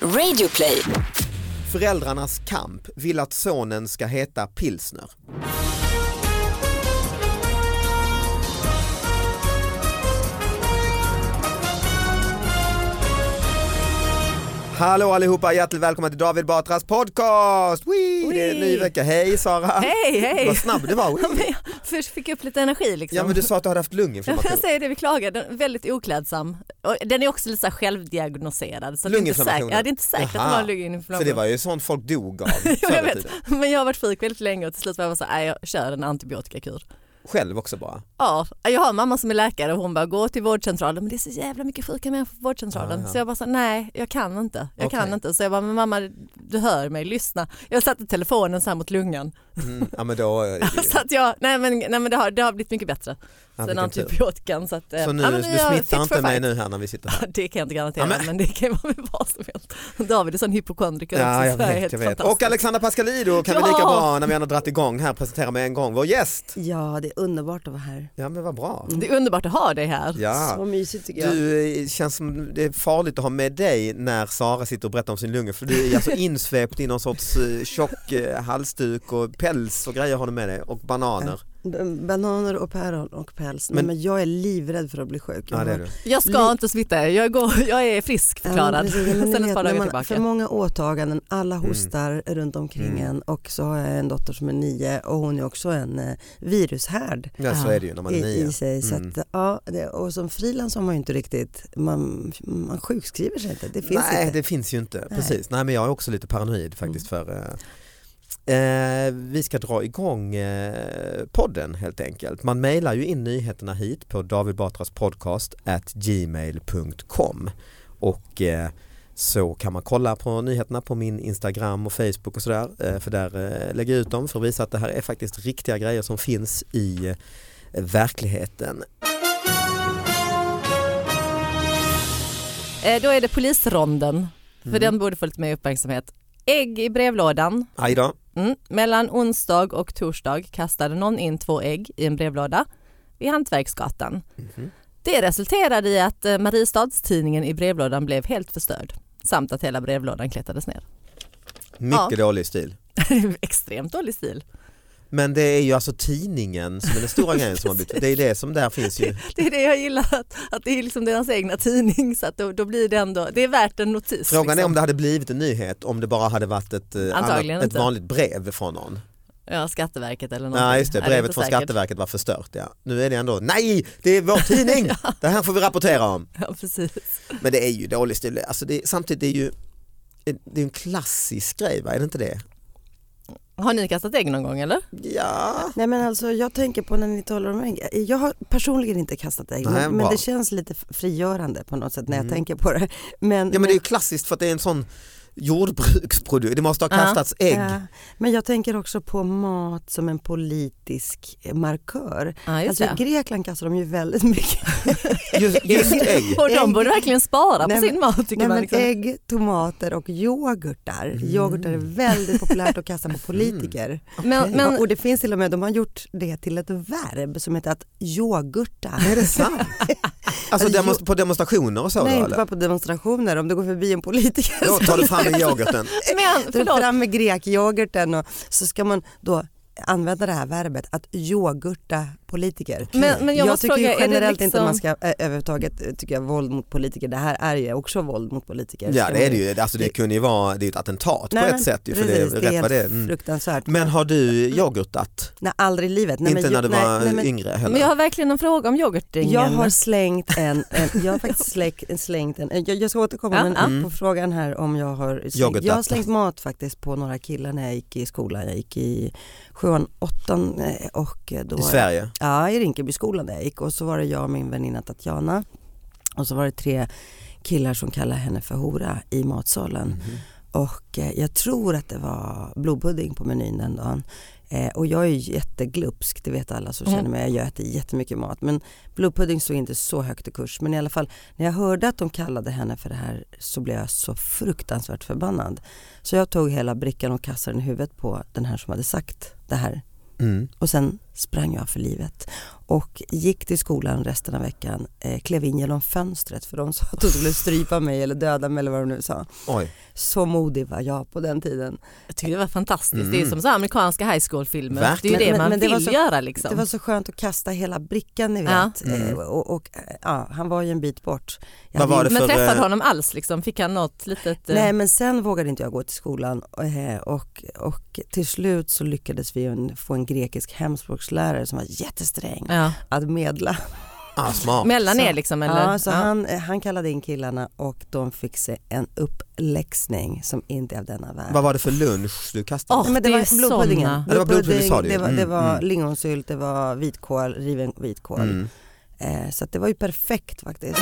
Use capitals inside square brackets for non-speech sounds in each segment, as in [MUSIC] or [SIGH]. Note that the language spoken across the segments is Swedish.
Radioplay. Föräldrarnas kamp vill att sonen ska heta pilsner. Hallå allihopa, hjärtligt välkomna till David Batras podcast! Wee, det är en ny Wee. vecka. Hej Sara! Hej, hej! Vad snabb du var! Wee. [LAUGHS] Ja, men jag- Först fick jag upp lite energi liksom. Ja men du sa att du hade haft lunginflammation. [LAUGHS] jag säger det, vi klagar. Den är väldigt oklädsam. Och Den är också lite så här självdiagnoserad. Så det är inte säkert, Lunginflammationen? ja, det är inte säkert att man Jaha. har lunginflammation. För det var ju sånt folk dog av Jo, förr [LAUGHS] jag i vet, tiden. [LAUGHS] men jag har varit sjuk väldigt länge och till slut var jag bara så här, "Nej, jag kör en antibiotikakur. Själv också bara. Ja, jag har en mamma som är läkare och hon bara gå till vårdcentralen men det är så jävla mycket sjuka människor på vårdcentralen. Ah, ja. Så jag bara så, nej jag kan inte, jag Okej. kan inte. Så jag bara men mamma du hör mig, lyssna. Jag satte telefonen så här mot lungan. Mm, ja men då... är det ju- [LAUGHS] Så att jag, nej men, nej, men det, har, det har blivit mycket bättre Ja, sen vilken tur. antibiotikan. Så, att, eh, typ. Så nu, ja, men du vi har smittar fit for inte mig fight. nu här när vi sitter här. Det kan jag inte garantera Ja, men- men... det kan ju vara [LAUGHS] med vad som helst. David är sån hypokondriker också, Ja, jag så är vet, helt jag vet. Och fantastiskt. Alexandra Pascalido kan vi Ja! lika bra när vi ändå dragit igång här presentera med en gång vår gäst. Ja, det är underbart att vara här. Ja men vad bra. Det är underbart att ha dig här. Så Ja. mysigt tycker jag. Du eh, känns som det är farligt att ha med dig när Sara sitter och berättar om sin lunga för du [LAUGHS] är alltså insvept i någon sorts eh, tjock eh, halsduk och päls och grejer har du med dig och bananer. B- Bananer och päron och päls. Men- Men, men jag är livrädd för att bli sjuk. Ja, det är du. Jag ska Li- inte smitta er, jag, går, jag är Ja, friskförklarad precis. [LAUGHS] Ja, men ni sen vet, ett par dagar när man har tillbaka. för många åtaganden, alla Mm. hostar runt omkring en och så har jag en dotter som är nio och hon är också en eh, virushärd Ja så är det ju när man är i, i nio. sig. Så Mm. att, ja, det, och som frilans har man ju inte riktigt, man, man sjukskriver sig inte. Det finns Nej inte. det finns ju inte, Nej. Mm. precis. Nej men jag är också lite paranoid faktiskt för eh, eh, vi ska dra igång eh, podden helt enkelt. Man mejlar ju in nyheterna hit på davidbatraspodcast@gmail.com och eh, så kan man kolla på nyheterna på min Instagram och Facebook och sådär. eh, För där eh, lägger jag ut dem för att visa att det här är faktiskt riktiga grejer som finns i eh, verkligheten. Eh, Då är det polisronden, för Mm. den borde få lite mer uppmärksamhet. Ägg i brevlådan. Aj då. Mm. Mellan onsdag och torsdag kastade någon in två ägg i en brevlåda vid Hantverksgatan. Mhm. Det resulterade i att eh, Mariestadstidningen i brevlådan blev helt förstörd samt att hela brevlådan klättrades ner. [LAUGHS] Mycket dålig stil. Extremt dålig stil. Men det är ju alltså tidningen som är den stora grejen som har blivit, det är det som där finns ju. Det är det jag gillar, att, att det är liksom deras egna tidning så att då, då blir det ändå, det är värt en notis. Frågan är liksom. om det hade blivit en nyhet om det bara hade varit ett, eh, Antagligen annat, ett inte. vanligt brev från någon. Ja, Skatteverket eller någonting. Nej just det, Ja, brevet inte från säkert. Skatteverket var förstört ja. Nu är det ändå, nej det är vår tidning, det här får vi rapportera om. [LAUGHS] Ja, precis. Men det är ju dålig stil, alltså det, är- samtidigt det är ju det är ju en klassisk grej va, är det inte det? Har ni kastat ägg någon gång eller? Ja, Nej men alltså jag tänker på när ni talar om ägg. Jag har personligen inte kastat ägg Nej, men, men bra. det känns lite frigörande på något sätt när jag tänker på det. Men, ja men det är ju klassiskt för att det är en sån jordbruksprodukt, det måste ha Ja. kastats ägg. Ja, eh, men jag tänker också på mat som en politisk eh, markör. Ja, just alltså det. i Grekland kastar de ju väldigt mycket Just, [LAUGHS] just ägg. Och de Ägg. borde verkligen spara Nej, på sin men- mat tycker Nej, man. men Liksom. ägg, tomater och yoghurtar. Yoghurtar är väldigt populärt att kasta på politiker. Men, men, ja, och det finns till och med, de har gjort det till ett verb som heter att yoghurta. Är det [LAUGHS] sant? Alltså Eller demonst- på demonstrationer och så Nej, då, inte eller? bara på demonstrationer, om du går förbi en politiker Då tar du fram en yoghurten. [LAUGHS] men Då förlåt, fram med grekyoghurten och så ska man då använda det här verbet att yoghurta politiker. Mm. Men- men jag måste tycker fråga, är ju det generellt inte man liksom- ska eh, överhuvudtaget eh, tycker jag, våld mot politiker. Det här är ju också våld mot politiker. Ja Ska det är man det ju, alltså, det kunde ju vara det är ett attentat Nej, på men ett sätt. ju, För precis, det, är rätt vad det. är. helt Mm. fruktansvärt. Men har du yoghurtat? Nej, aldrig i livet. Nej, inte men, när du nej, var nej, men, yngre heller? men jag har verkligen en fråga om yoghurtdringen. Jag har slängt en, en jag har faktiskt släckt, slängt en, jag, jag ska återkomma Ja, men ja. på frågan här om jag har, Mm. Yoghurt jag har latte. slängt mat faktiskt på några killar när jag gick i skolan, jag gick i sjuan, åttan eh, och då I Sverige? Ja, i Rinkebyskolan där jag gick och så var det jag och min väninna Tatjana och så var det tre killar som kallade henne för hora i matsalen. Och eh, jag tror att det var blodpudding på menyn den dagen. Eh, och jag är ju jätteglupsk, det vet alla som Mm. känner mig. Jag äter jättemycket mat. Men blodpudding stod inte så högt i kurs. Men i alla fall, när jag hörde att de kallade henne för det här så blev jag så fruktansvärt förbannad. Så jag tog hela brickan och kastade den i huvudet på den här som hade sagt det här. Mm. Och sen sprang jag för livet och gick till skolan resten av veckan, eh, klev in genom fönstret för de sa att de skulle strypa mig eller döda mig eller vad de nu sa. Oj. Så modig var jag på den tiden. Jag tycker det var fantastiskt. Mm. Det är som så här amerikanska high school-filmer. Det är Verkligen. ju det Men- man men det var vill så- göra liksom. Det var så skönt att kasta hela brickan ni Ja. vet. Eh, Mm. Och, och, eh, ja, han var ju en bit bort. Vad Jag hade var ju- det men för, träffade eh, honom alls liksom? Fick han något litet... eh, Nej men sen vågade inte jag gå till skolan eh, och, och till slut så lyckades vi ju en- få en grekisk hemspråkslärare som var jättesträng ja. att medla. Ah, smart. Mellan Så- er liksom eller? alltså- Ja, så Han, eh, han kallade in killarna och de fick se en uppläxning som inte är av denna värld. Vad var det för lunch du kastade? Åh, Nej, men det, det är var blodpuddingen. såna. Ja, det var blodpudding, sa du ju. det var, det Mm, var mm. lingonsylt, det var vitkål, riven vitkål. Mm. Eh, så att det var ju perfekt faktiskt.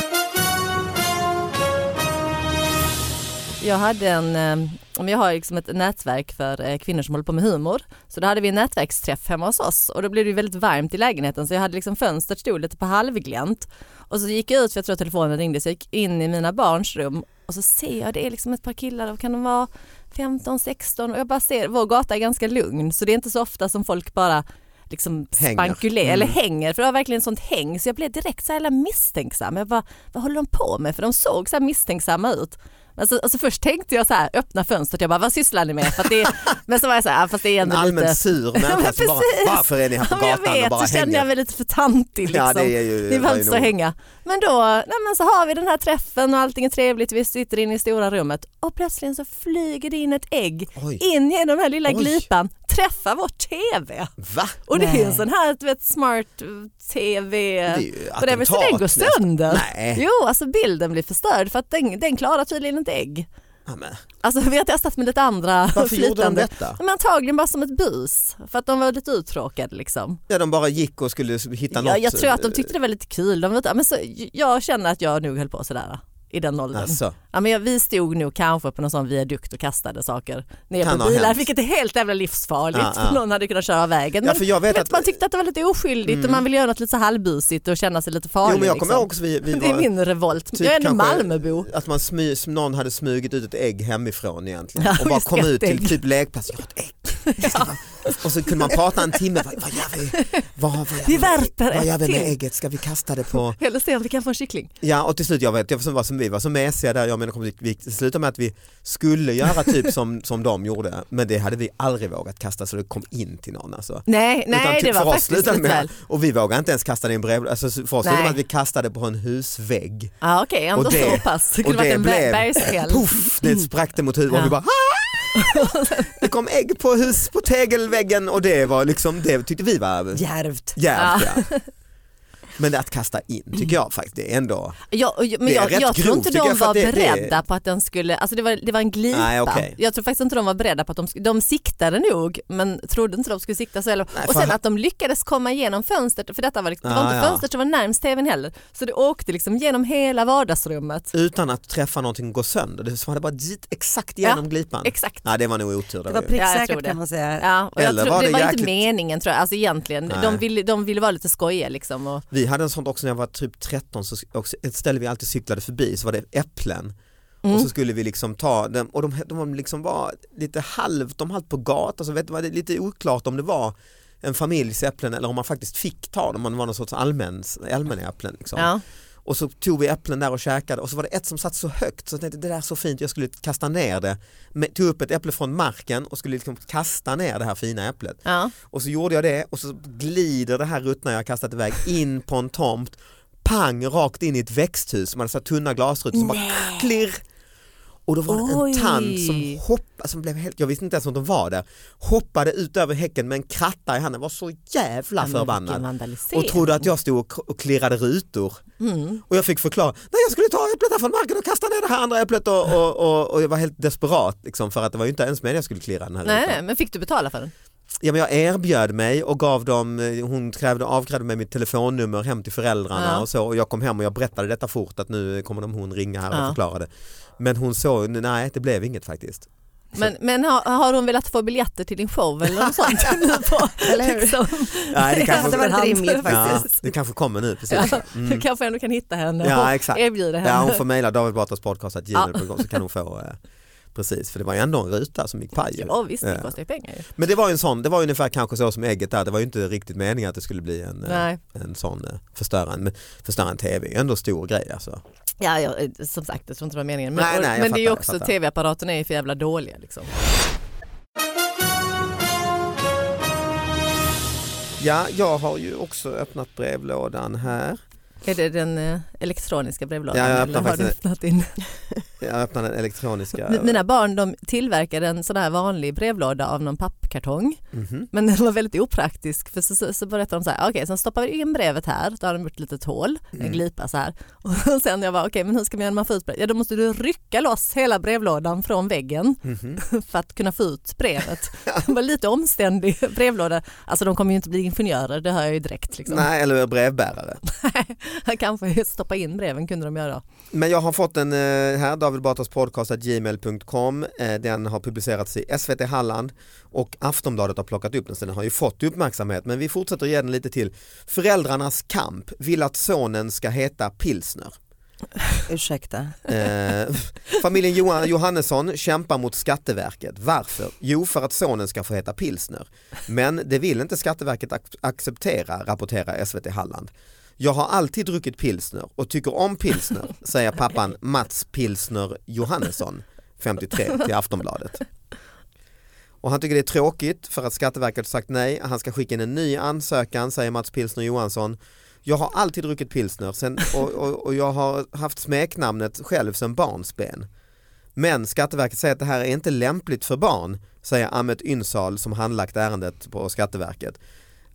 Jag hade en, eh, men jag har liksom ett nätverk för eh, kvinnor som håller på med humor. Så då hade vi en nätverksträff hemma hos oss och då blev det ju väldigt varmt i lägenheten så jag hade liksom fönstret stod lite på halvglänt. Och så gick jag ut för jag tror att telefonen ringde så jag gick in i mina barns rum och så ser jag det är liksom ett par killar, vad kan de vara 15, 16 och jag bara ser, vår gata är ganska lugn så det är inte så ofta som folk bara liksom Hänger. spankulerar Mm. eller hänger för det var verkligen sånt häng så jag blev direkt så här jävla misstänksam. Jag bara, vad håller de på med? För de såg så här misstänksamma ut. Alltså, alltså först tänkte jag så här, öppna fönstret, jag bara vad sysslar ni med? För att det är, [LAUGHS] men så var jag så här, "Ah, fast det En är ändå allmänt lite... sur människa men som bara, precis. varför är ni här på [LAUGHS] Ja, men jag gatan och vet, bara så kände jag hänger? mig lite för tantig liksom. Ja, det är ju, Vi var ju behöver inte nog- hänga. Men då nej men så har vi den här träffen och allting är trevligt. Vi sitter inne i stora rummet och plötsligen så flyger det in ett ägg Oj, in genom den här lilla Oj. glipan, träffar vår TV. va? Och det Nej. är en sån här du vet, smart eh, TV. Det är ju Och den, så attentat den går nästan. sönder. Nej, Jo, alltså bilden blir förstörd för att den, den klarar tydligen inte ägg. ja, men, Alltså vi har testat med lite andra varför gjorde de flytande. detta? Men antagligen bara som ett bus för att de var lite uttråkade liksom. Ja, de bara gick och skulle hitta Ja, något. eh, jag tror att de tyckte det var lite kul. De var lite, men så, jag känner att jag nog höll på sådär i den åldern. Alltså, Ja, men jag, vi stod nog kanske på någon sån viadukt och kastade saker ner Kan på ha bilar hänt. vilket är helt jävla livsfarligt. Ja, ja. för [LAUGHS] Någon hade kunnat köra av vägen. Men, ja, för jag vet vet, att, Mm. man tyckte att det var lite oskyldigt och man ville göra något lite så halvbusigt och känna sig lite farlig. jo men jag kommer liksom. ihåg också, vi, vi Det är var, min revolt. typ jag är ändå kanske- Malmöbo. att man smy, som någon hade smugit ut ett ägg hemifrån egentligen Ja, och bara just kom det, ut ett ägg. till typ lekplatsen, jag har ett ägg. Och så kunde man prata en timme, vad, vad gör vi? Vad, vad gör Vi värper Vad ett gör vi med till. ägget? Ska vi kasta det på Eller se om vi kan få en kyckling. Ja och till slut, jag vet jag som var som vi var så mesiga där, jag menar kom till, vi slutade med att vi skulle göra typ som, som de gjorde men det hade vi aldrig vågat kasta så det kom in till någon alltså. Nej, Utan nej typ det för var oss faktiskt slutade lite med- väl. Och vi vågade inte ens kasta det i en brevlåda, alltså, för oss slutade Nej. med att vi kastade på en husvägg. Ja okej, ändå Och det- så pass. Det kunde och varit det en blev- blev... bergsfjäll. Puff, det sprack det mot huvudet och vi Ja. bara "Ah!" Det kom ägg på hus på tegelväggen och det var liksom, det tyckte vi var Djärvt. djärvt. [LAUGHS] Ja. Men att kasta in tycker jag faktiskt det är ändå, Ja, och jag- men Det är jag, rätt jag grovt, tror inte tycker de jag, för var att det- det är- beredda på att den skulle, alltså det var, det var en glipa. Nej, okej. Jag tror faktiskt inte de var beredda på att de skulle, de siktade nog men trodde inte de skulle sikta så heller. Nej, och för- sen att de lyckades komma igenom fönstret, för detta var, liksom, det var Ah, inte ja. fönstret som var närmst tvn heller. Så det åkte liksom genom hela vardagsrummet. utan att träffa någonting gå sönder, det som hade bara dit exakt genom glipan. Exakt. Nej det var nog otur. Det där var ju. Ja, jag tror pricksäkert det. kan man säga. Ja, och Eller jag tror, var det det var jäkligt- inte meningen tror jag, alltså egentligen. Nej. De ville, de ville vara lite skojiga liksom. Och, Vi hade en sån också när jag var typ 13, så också, ett ställe vi alltid cyklade förbi så var det äpplen och så skulle vi liksom ta dem och de, de liksom var lite halvt, de halvt på gatan så vet, var det lite oklart om det var en familjs äpplen eller om man faktiskt fick ta dem, om det var någon sorts allmän, allmän äpplen. Liksom. ja. Och så tog vi äpplen där och käkade och så var det ett som satt så högt så jag tänkte det där är så fint, jag skulle kasta ner det. Men, tog upp ett äpple från marken och skulle liksom kasta ner det här fina äpplet. Ja. Och så gjorde jag det och så glider det här ruttna jag kastat iväg in på en tomt, pang rakt in i ett växthus som hade så här tunna glasrutor som bara klirr. Och då var det Oj. en tant som hoppade, som blev helt, jag visste inte ens om de var där, hoppade ut över häcken med en kratta i handen, var så jävla Ja, men vilken förbannad. vandalisering. Och trodde att jag stod och, och klirrade rutor. Mm. Och jag fick förklara, nej jag skulle ta äpplet här från marken och kasta ner det här andra äpplet och, och, och, och jag var helt desperat liksom, för att det var ju inte ens meningen jag skulle klirra den här rutan. Nej, nej, men fick du betala för den? Ja, men jag erbjöd mig och gav dem, eh, hon krävde, avkrävde mig mitt telefonnummer hem till föräldrarna Ja. och så och jag kom hem och jag berättade detta fort att nu kommer de hon ringa här och Ja. förklara det. Men hon såg, nej det blev inget faktiskt. Men, men har, har hon velat få biljetter till din show eller något sånt? nu [LAUGHS] på, [LAUGHS] Eller hur? Liksom, Nej, [LAUGHS] det Det hade kanske, varit Efterhand. rimligt ja, faktiskt. det kanske kommer nu precis. ja, Du kanske ändå kan hitta henne Mm. Ja, och exakt. erbjuda henne. Ja, hon får mejla David Batras podcast så kan hon få eh, precis. För det var ju ändå en ruta som gick paj. ju. Ja visst, det Ja. kostar ju pengar ju. Men det var ju en sån, det var ju ungefär kanske så som ägget där. Det var ju inte riktigt meningen att det skulle bli en, eh, Nej. en sån eh, förstörande, förstörande tv. Det är Ändå stor grej alltså. Ja, ja, eh, som sagt, jag tror inte det var meningen. Men, Nej, nej, jag men det är ju fattar, jag också, fattar. tv-apparaterna är ju för jävla dåliga liksom. Ja, jag har ju också öppnat brevlådan här. Är det den eh, elektroniska brevlådan Ja, jag eller öppnar har du faktiskt öppnat in? Jag öppnar den elektroniska. Mi- Mina barn de tillverkade en sån här vanlig brevlåda av någon pappkartong. Mhm. Men den var väldigt opraktisk för så, så, så berättade de så här, okej sen stoppar vi in brevet här, då har de gjort ett litet hål, Mm. en glipa så här. [LAUGHS] Och sen jag bara, okej men hur ska man göra när man får ut brevet? Ja då måste du rycka loss hela brevlådan från väggen Mhm. [LAUGHS] för att kunna få ut [LAUGHS] brevet. Det var lite omständig [LAUGHS] brevlåda. Alltså de kommer ju inte bli ingenjörer, det hör jag ju direkt. Liksom. Nej, eller brevbärare. [LAUGHS] Kanske stoppa in breven kunde de göra. Men jag har fått en eh, här, David Batras podcast at gmail.com. Eh, Den har publicerats i SVT Halland och Aftonbladet har plockat upp den så den har ju fått uppmärksamhet. Men vi fortsätter ge den lite till. Föräldrarnas kamp vill att sonen ska heta pilsner. Ursäkta. Eh, familjen Johan, Johannesson kämpar mot Skatteverket. Varför? Jo, för att sonen ska få heta pilsner. Men det vill inte Skatteverket ac- acceptera, rapporterar SVT Halland. Jag har alltid druckit pilsner och tycker om pilsner, säger pappan Mats Pilsner Johannesson, 53, till Aftonbladet. Och han tycker det är tråkigt för att Skatteverket har sagt nej. Han ska skicka in en ny ansökan, säger Mats Pilsner Johansson. Jag har alltid druckit pilsner sen, och, och, och jag har haft smeknamnet själv sedan barnsben. Men Skatteverket säger att det här är inte lämpligt för barn, säger Ahmet Ünsal som handlagt ärendet på Skatteverket.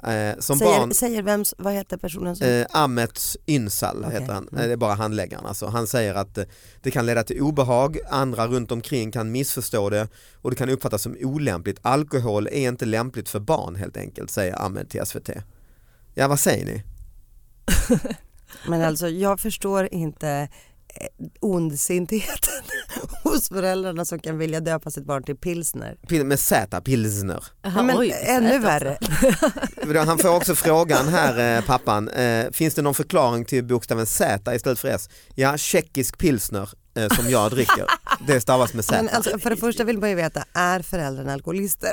Eh, som säger, barn, säger vems, vad heter personen som... Eh, Ahmet Ünsal Alltså. Okej. Mm. heter han, Eh, det är bara handläggaren. Alltså, han säger att eh, det kan leda till obehag, andra runt omkring kan missförstå det och det kan uppfattas som olämpligt. Alkohol är inte lämpligt för barn helt enkelt, säger Ahmet till SVT. Ja, vad säger ni? Men alltså jag förstår inte eh, ondsintheten [LAUGHS] hos föräldrarna som kan vilja döpa sitt barn till pilsner. Pil- med Z, pilsner. Aha, Ja, men oj, ännu alltså. värre. Han får [LAUGHS] också frågan här, eh, pappan, eh, finns det någon förklaring till bokstaven Z istället för S? Ja, tjeckisk pilsner eh, som jag [LAUGHS] dricker. Det stavas med Z. Men alltså, för det första vill man ju veta, är [LAUGHS] föräldrarna alkoholister?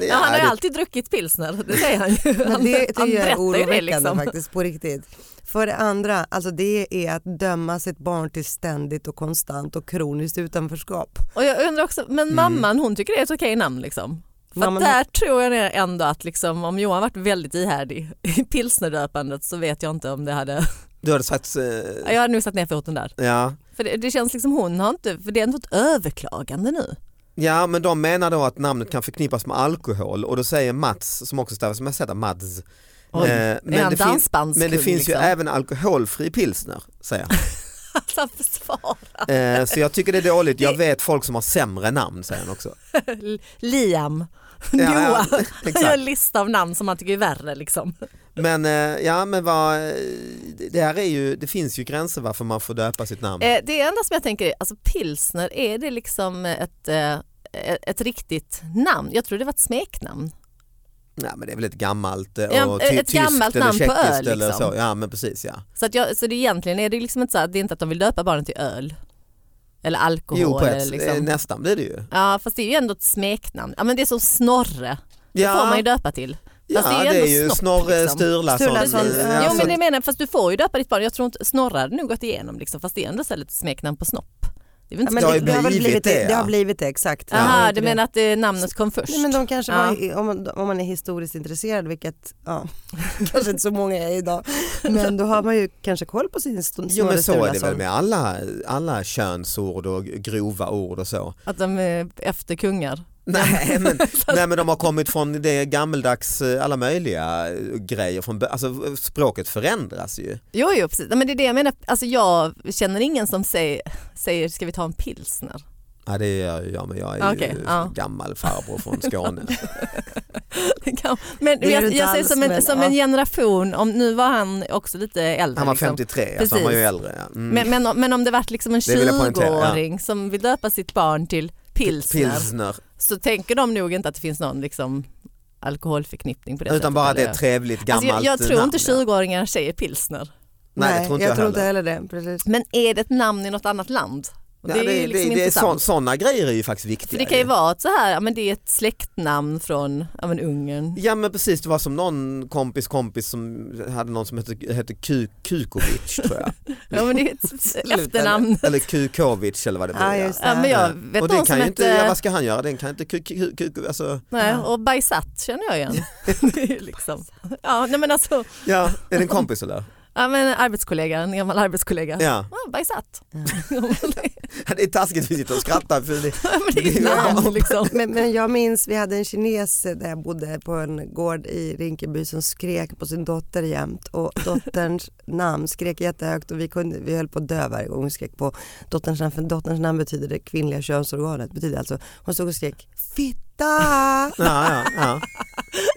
Ja, han har ju det- alltid druckit pilsner, det säger han ju. Men det han berättar tycker jag är ju det, oroväckande liksom. faktiskt på riktigt. För det andra, alltså det är att döma sitt barn till ständigt och konstant och kroniskt utanförskap. Och jag undrar också, men mamman hon tycker det är ett okej namn liksom? För Mamman- att där tror jag ändå att liksom, om Johan varit väldigt ihärdig i [LAUGHS] pilsnerdöpandet så vet jag inte om det hade, [LAUGHS] Du hade sagt, eh, jag hade nog satt ner foten där. ja. För det, det känns liksom hon har inte, för det är ändå ett överklagande nu. Ja men de menar då att namnet kan förknippas med alkohol och då säger Mats som också stavas med Z, Mads. Oj, Eh, är han det fin- dansbandskung men det finns liksom? ju även alkoholfri pilsner säger han. [LAUGHS] Alltså han försvarar. Eh, så jag tycker det är dåligt, jag vet folk som har sämre namn säger han [LAUGHS] också. Liam, Ja, ja, Noah, han gör [LAUGHS] en exakt. lista av namn som han tycker är värre liksom. Men eh, ja men vad, eh, det här är ju, det finns ju gränser varför man får döpa sitt namn. Eh, det enda som jag tänker är, alltså pilsner, är det liksom ett, eh, ett riktigt namn? Jag tror det var ett smeknamn. Nej men det är väl ett gammalt eh, Ja, och ett ty- tyskt gammalt eller namn på tjeckiskt öl, eller liksom. så. Ja men precis ja. Så, att jag, så det egentligen är det liksom inte så att det är inte att de vill döpa barnen till öl eller alkohol. Jo på eller ett, eh, liksom. nästan blir det ju. Ja fast det är ju ändå ett smeknamn. Ja men det är som Snorre, det får man ju döpa till. ja, fast det är ju det är ändå ju snopp, Snorre liksom. Sturlason. Sturlason, Eh, ja. ja, jo så- men det menar jag, fast du får ju döpa ditt barn. Jag tror inte, Snorre hade nog gått igenom liksom, fast det är ändå så här lite smeknamn på snopp. Det är väl Ja, inte men Det har ju väl blivit det, det ja. har blivit det, exakt. Aha, du menar att eh, namnet kom först? Nej, men de kanske Ja. var, om, man- om man är historiskt intresserad, vilket ja, [LAUGHS] kanske inte så många är idag, men då har man ju kanske koll på sin st- Jo men så är det Snorre väl Sturlason. med alla, alla könsord och grova ord och så. Att de är efter kungar? [LAUGHS] Nej [LAUGHS] men, nej men de har kommit från det gammeldags eh, alla möjliga eh, grejer, från, bö- alltså språket förändras ju. Jo, jo precis. Nej, Men det är det jag menar. Alltså, jag känner ingen som säger, säger ska vi ta en pilsner? Ja det gör ju jag men jag är Ah, ju okej, ja. gammal farbror från [LAUGHS] Skåne. Det kan- Men Det är jag, du jag inte säger alls, som, en, men, som ja. en generation, om, nu var han också lite äldre. Han var liksom. 53, alltså, han var ju Precis. äldre. ja. Mm. Men, men, om- men om det varit liksom en Det vill jag poängtera, 20-åring som vill döpa sitt barn till pilsner, Pilsner, så tänker de nog inte att det finns någon liksom, alkoholförknippning på det utan sättet, bara att det är eller? ett trevligt Alltså, gammalt jag, jag tror namn, inte ja. 20-åringar säger pilsner. Nej, det tror inte jag, heller det. Precis. Men är det ett namn i något annat land? Och det är ju liksom intressant. Sådana grejer är ju faktiskt viktiga. För det kan ju vara ett så här, ja, men det är ett släktnamn från ja, men Ungern. Ja men precis, det var som någon kompis kompis som hade någon som hette, hette Ku- Kukovic tror jag. Ja, men det är ett Sluta efternamn. [LAUGHS] Eller Kukovic eller vad det blir. Ja, ja. just Ja, men jag vet Och någon den som kan ju inte, hette... ja, vad ska han göra? Den kan inte ku, ku, ku, alltså, Nej, Ja. och bajsat känner [LAUGHS] jag igen. [LAUGHS] Det är ju liksom. Ja, nej men alltså, ja, är det en kompis eller? ja, men arbetskollega, en gammal arbetskollega. Ja. Ja, bajsat. Ja. [LAUGHS] Ja, men det- Det är taskigt vi sitter och skrattar för det, ja, men det är ju ett Det är- namn liksom. [LAUGHS] Men, men jag minns, vi hade en kines där jag bodde på en gård i Rinkeby som skrek på sin dotter jämt och dotterns [LAUGHS] namn skrek jättehögt och vi, kunde, vi höll på att dö varje gång hon skrek på dotterns namn för dotterns namn betyder det kvinnliga könsorganet. Betyder alltså, hon stod och skrek fitta ja, ja, ja.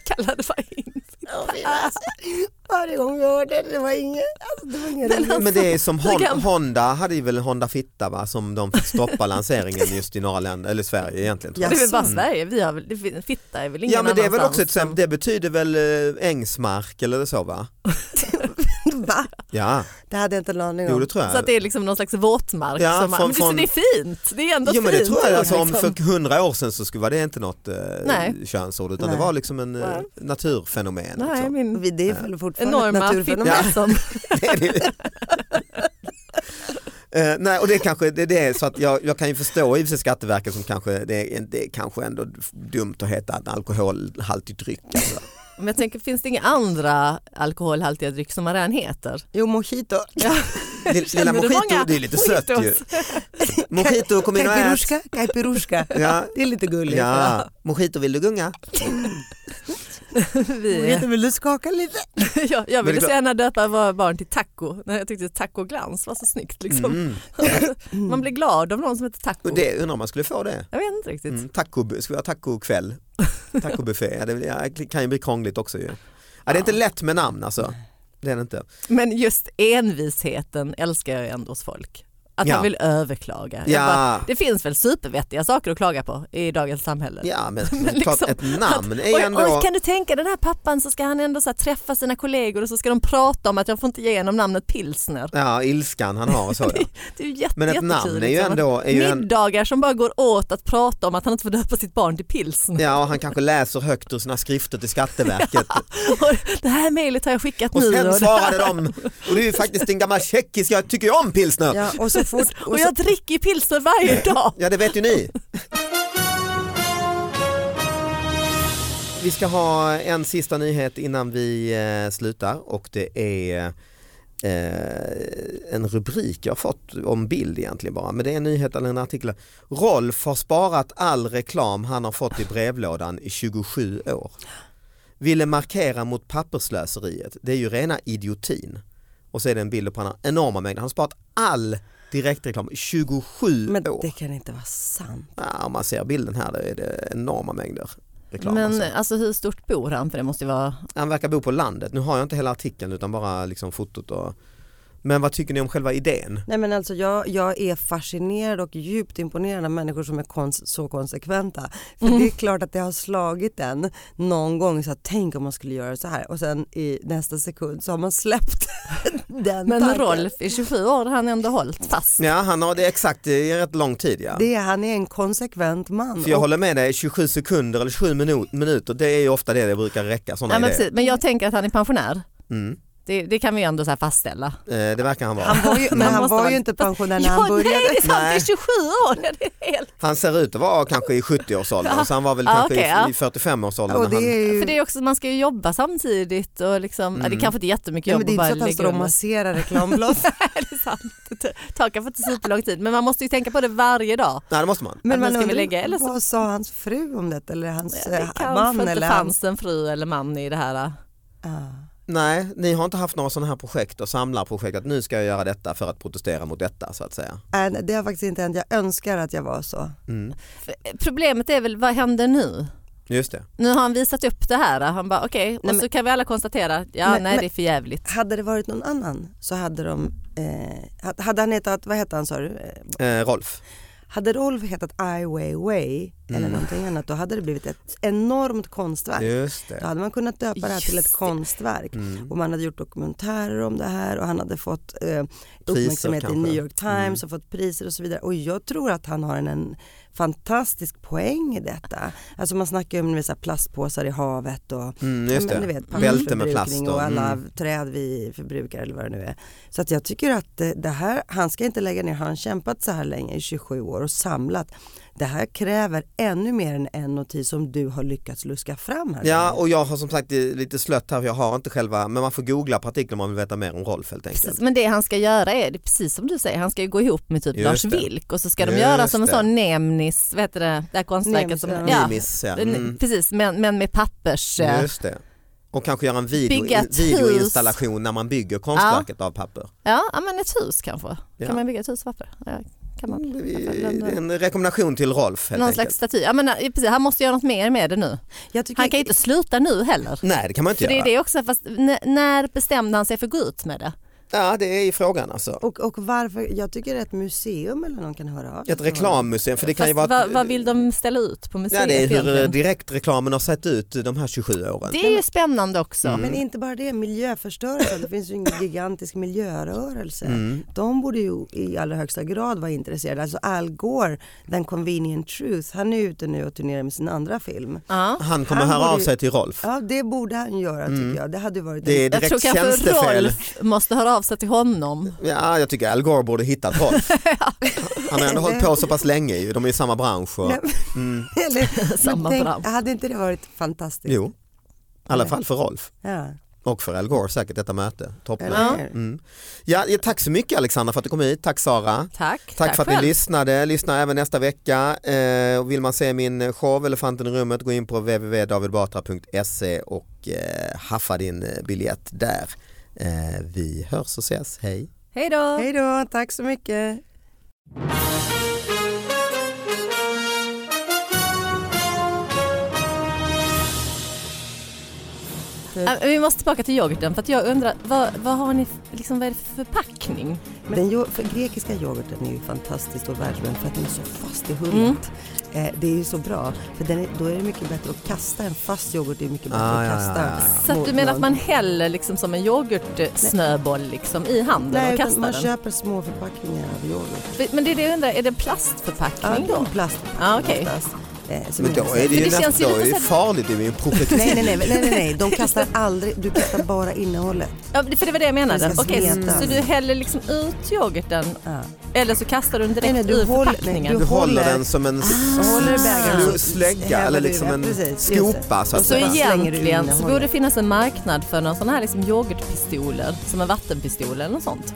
Kallade man in. Och vi var alltså- [LAUGHS] varje gång vi hörde det, det var inget, alltså, det var inget roligt. Men det är som Hon, gammal- Honda hade ju väl Honda Fitta va, som de fick stoppa lanseringen just i några länder, eller Sverige egentligen. Tror Det jag. är väl bara Jaså. Sverige, vi har väl, det fin- fitta är väl ingen Ja men det är väl också annanstans ett exempel, det betyder väl eh, ängsmark eller så va? Va? Ja, Det hade jag inte en aning jo det om. tror som- Så att jag. det är liksom någon slags våtmark. Ja, som man, från- men från, det är fint, det är ändå Jo fint. men det tror jag, alltså, om liksom. för hundra år sedan så skulle, var det inte något eh, Nej. könsord utan Nej. det var liksom en eh, Nej. naturfenomen. Nej, liksom. min Vi- Det är väl fortfarande ett enorma naturfenomen. fitta som... [LAUGHS] Det är det. [LAUGHS] Eh, nej och det kanske det, det är så att jag, jag kan ju förstå i och för sig Skatteverket som kanske det är, det är kanske ändå dumt att heta en alkoholhaltig dryck. [LAUGHS] Alltså. Men jag tänker, finns det inga andra alkoholhaltiga dryck som man redan heter? Jo, mojito. Lill- Lilla Känner du mojito, många det är lite sött ju. mojitos? Mojito kom in och ät. Kajpirushka, kajpirushka. [LAUGHS] Ja, Det är lite gulligt. ja. Mojito vill du gunga? [LAUGHS] Vi, vill du skaka lite? [LAUGHS] jag, Men jag det är ville klart- så gärna döpa våra barn till taco. När jag tyckte tacoglans var så snyggt. Liksom. Mm. [LAUGHS] Man blir glad av någon som heter taco. Och det, undrar om man skulle få det. Jag vet inte riktigt. Mm. Taco, ska vi ha [LAUGHS] tacokväll? Tacobuffé, ja, det vill- ja, det kan ju bli krångligt också ju. Ja, det är inte lätt med namn alltså. Det är det inte. Men just envisheten älskar jag ju ändå hos folk. Att Ja. man vill överklaga. Jag Ja. Bara, det finns väl supervettiga saker att klaga på i dagens samhälle. Ja men, [LAUGHS] liksom- klart ett namn är ju Oj, ändå... oj, kan du tänka den här pappan så ska han ändå så här träffa sina kollegor och så ska de prata om att jag får inte ge honom namnet pilsner. Ja, ilskan han har och [LAUGHS] så. Ja. Det är ju jätte, Men ett jättekul, namn är ju liksom. ändå... Är ju en, Middagar som bara går åt att prata om att han inte får döpa sitt barn till [LAUGHS] pilsner. ja, och han kanske läser högt ur sina skrifter till [LAUGHS] Skatteverket. Och det här mejlet har jag skickat Och nu. sen det svarade här- de, och det är ju faktiskt en gammal tjeckisk, jag tycker ju om pilsner. Ja, och så [LAUGHS] fort... Och jag dricker ju pilsner varje dag. [LAUGHS] Ja, det vet ju ni. Vi ska ha en sista nyhet innan vi eh, slutar och det är eh, en rubrik jag har fått om bild egentligen bara, men det är en nyhet eller en artikel. Rolf har sparat all reklam han har fått i brevlådan i 27 år. Ville markera mot papperslöseriet, det är ju rena idiotin. Och så är det en bild på han har enorma mängder, han har sparat all direktreklam i 27 men år. det kan inte vara sant. Ja, om man ser bilden här då är det enorma mängder reklam. Men alltså. alltså hur stort bor han? För det måste ju vara... Han verkar bo på landet. Nu har jag inte hela artikeln utan bara liksom fotot. Och... Men vad tycker ni om själva idén? Nej men alltså jag, jag är fascinerad och djupt imponerad av människor som är kons- så konsekventa. För det är Mm. klart att det har slagit en någon gång så att tänk om man skulle göra så här och sen i nästa sekund så har man släppt [LAUGHS] den Men tanken. Rolf i 27 år har han ändå hållit fast. Ja, han har det exakt i rätt lång tid ja. Det, är- han är en konsekvent man. För jag Och- håller med dig, 27 sekunder eller 7 minu- minuter det är ju ofta det det brukar räcka. Såna Ja, men, idéer. precis. men jag tänker att han är pensionär. Mm. Det, det kan vi ändå så här fastställa. Eh, det verkar han vara. Han var ju, men Man han måste var vara- ju inte pensionär när Ja, han nej, det började. är sant, det Nej. är 27 år. Ja, Det är helt... Han ser ut att vara kanske i 70-årsåldern så han var väl Ja, kanske okej, ja. i, i 45-årsåldern. Och det när han... är ju, För det är också, man ska ju jobba samtidigt och liksom, Mm. ja, det kanske inte är jättemycket ja, jobb men det är inte att så bara att han står lägga och under. masserar reklamblad. [LAUGHS] Nej, det är sant. Det tar kanske inte superlång tid men man måste ju tänka på det varje dag. Nej det måste man. Men Ja, man men ska vi undrar, lägga, eller så- vad sa hans fru om det eller hans eh, Det man? kanske eller inte hans... fanns en fru eller man i det här. Ah. Nej, ni har inte haft några sådana här projekt och samlarprojekt att nu ska jag göra detta för att protestera mot detta så att säga. Nej, det har faktiskt inte hänt. Jag önskar att jag var så. Mm. eh, Problemet är väl, vad händer nu? Just det. Nu har han visat upp det här. Han bara okej, Nej, och så kan vi alla konstatera, ja Men- nej men- det är för jävligt. Hade det varit någon annan så hade de... Eh, ha- hade han hetat, vad hette han sa du? Eh, Eh, Rolf. Hade Rolf hetat Ai Weiwei eller Mm. någonting annat. Då hade det blivit ett enormt konstverk. Just Då det. hade man kunnat döpa det här till Just ett det. konstverk. Mm. Och man hade gjort dokumentärer om det här och han hade fått eh, Priser uppmärksamhet i kanske. New York Mm. Times och fått priser och så vidare. Och jag tror att han har en, en fantastisk poäng i detta. Alltså man snackar ju om ni vet, så här plastpåsar i havet och Mm, just ja, men ni det. vet, Bälte med plast pappersförbrukning och- och alla mm. träd vi förbrukar eller vad det nu är. Så att jag tycker att eh, det här, han ska inte lägga ner, han har kämpat så här länge i 27 år och samlat. Det här kräver ännu mer än en notis som du har lyckats luska fram här. Ja och jag har som sagt eh, lite slött här för jag har inte själva, men man får googla på artikeln om man vill veta mer om Rolf helt enkelt. Precis, men det han ska göra är, det är precis som du säger, han ska ju gå ihop med typ Just Lars det. Vilk och så ska de Just göra som en det. sån Nemnis, vad heter det, det här konstverket Nemnis, som, ja. ja, Nimis, ja. Den- Mm. precis men, men med pappers, eh, Just det. Och kanske göra en video, Bygga ett videoinstallation när man bygger konstverket av papper. ja ja, men ett hus kanske, Ja. kan man bygga ett hus av papper? Ja, kan man. Mm, det Jag är- får- det är En rekommendation till Rolf helt Någon enkelt. slags staty, ja men eh, precis, han måste göra något mer med det nu. Jag tycker, Han kan ju inte sluta nu heller. Nej det kan man inte För det göra. är det också, fast n- när bestämde han sig för att gå ut med det? Ja det är i frågan alltså. och, och varför, jag tycker ett museum eller någon kan höra av sig Ett till honom. reklammuseum för det kan Fast ju vara vad, vad vill de ställa ut på museet Ja, det är hur egentligen? direktreklamen har sett ut de här 27 åren. Det är ju spännande också. Mm. Men inte bara det, miljöförstörelsen. Det finns ju en gigantisk miljörörelse. Mm. De borde ju i allra högsta grad vara intresserade. Alltså Al Gore, den convenient truth, han är ute nu och turnerar med sin andra film. Ja. Han kommer Han höra borde av ju- sig till Rolf. Ja, det borde han göra Mm. tycker jag. Det hade ju varit... Det är Jag tror direkt kanske tjänstefel. Rolf måste höra av sig till honom. Ja, jag tycker Al Gore borde hittat Rolf. [LAUGHS] Han har ändå hållit på så pass länge ju, de är i samma bransch. Och, Nej, [LAUGHS] mm, [LAUGHS] Eller, [LAUGHS] men Samma bransch. Hade inte det varit fantastiskt? jo, i alla fall för Rolf. Ja. Och för Al Gore säkert detta möte. Toppen. Eller Ja. hur? Mm. Ja, ja, tack så mycket Alexandra för att du kom hit, tack Sara. Tack. Tack, för att ni själv. lyssnade, lyssna även nästa vecka. Eh, och vill man se min show Elefanten i rummet gå in på www.davidbatra.se och eh, haffa din eh, biljett där. Eh, vi hörs och ses, hej! Hej då. Hej då, tack så mycket. Äh, Vi måste tillbaka till yoghurten för att jag undrar vad, vad har ni f- liksom, vad är det för förpackning? Den yo- för grekiska yoghurten är ju fantastiskt och världsberömd för att den är så fast i humlet. Mm. Eh, det är ju så bra, för den är, då är det mycket bättre att kasta. En fast yoghurt är mycket bättre Ah, att ja, kasta. ja, ja. Så att mot du menar att någon. man häller liksom som en yoghurtsnöboll liksom i handen Nej, och utan kastar man den? köper små förpackningar av yoghurt. Men det är det jag undrar, är det en Ja, plastförpackning det är en då? plastförpackning Ah, okej. oftast, eh, som Men då är är det det ju, känns nästan, då ju är det ju lite så farligt, det är ju en projektil. Nej, nej, nej, nej, nej, nej, de kastar aldrig, du kastar bara innehållet. Ja, för det var det jag menade. Den ska Okej, smetas. så du häller liksom ut yoghurten Ja. eller så kastar du den direkt Nej, nej, du ur håller- nej, förpackningen? du Du håller håller- den som en s- Så håller du bägaren slu- så slägga häller eller du- liksom ja, en precis, just det. skopa så att Så bara säga. slänger du in egentligen så innehållet. borde det finnas en marknad för någon sån här liksom yoghurtpistoler, som en vattenpistol eller något sånt.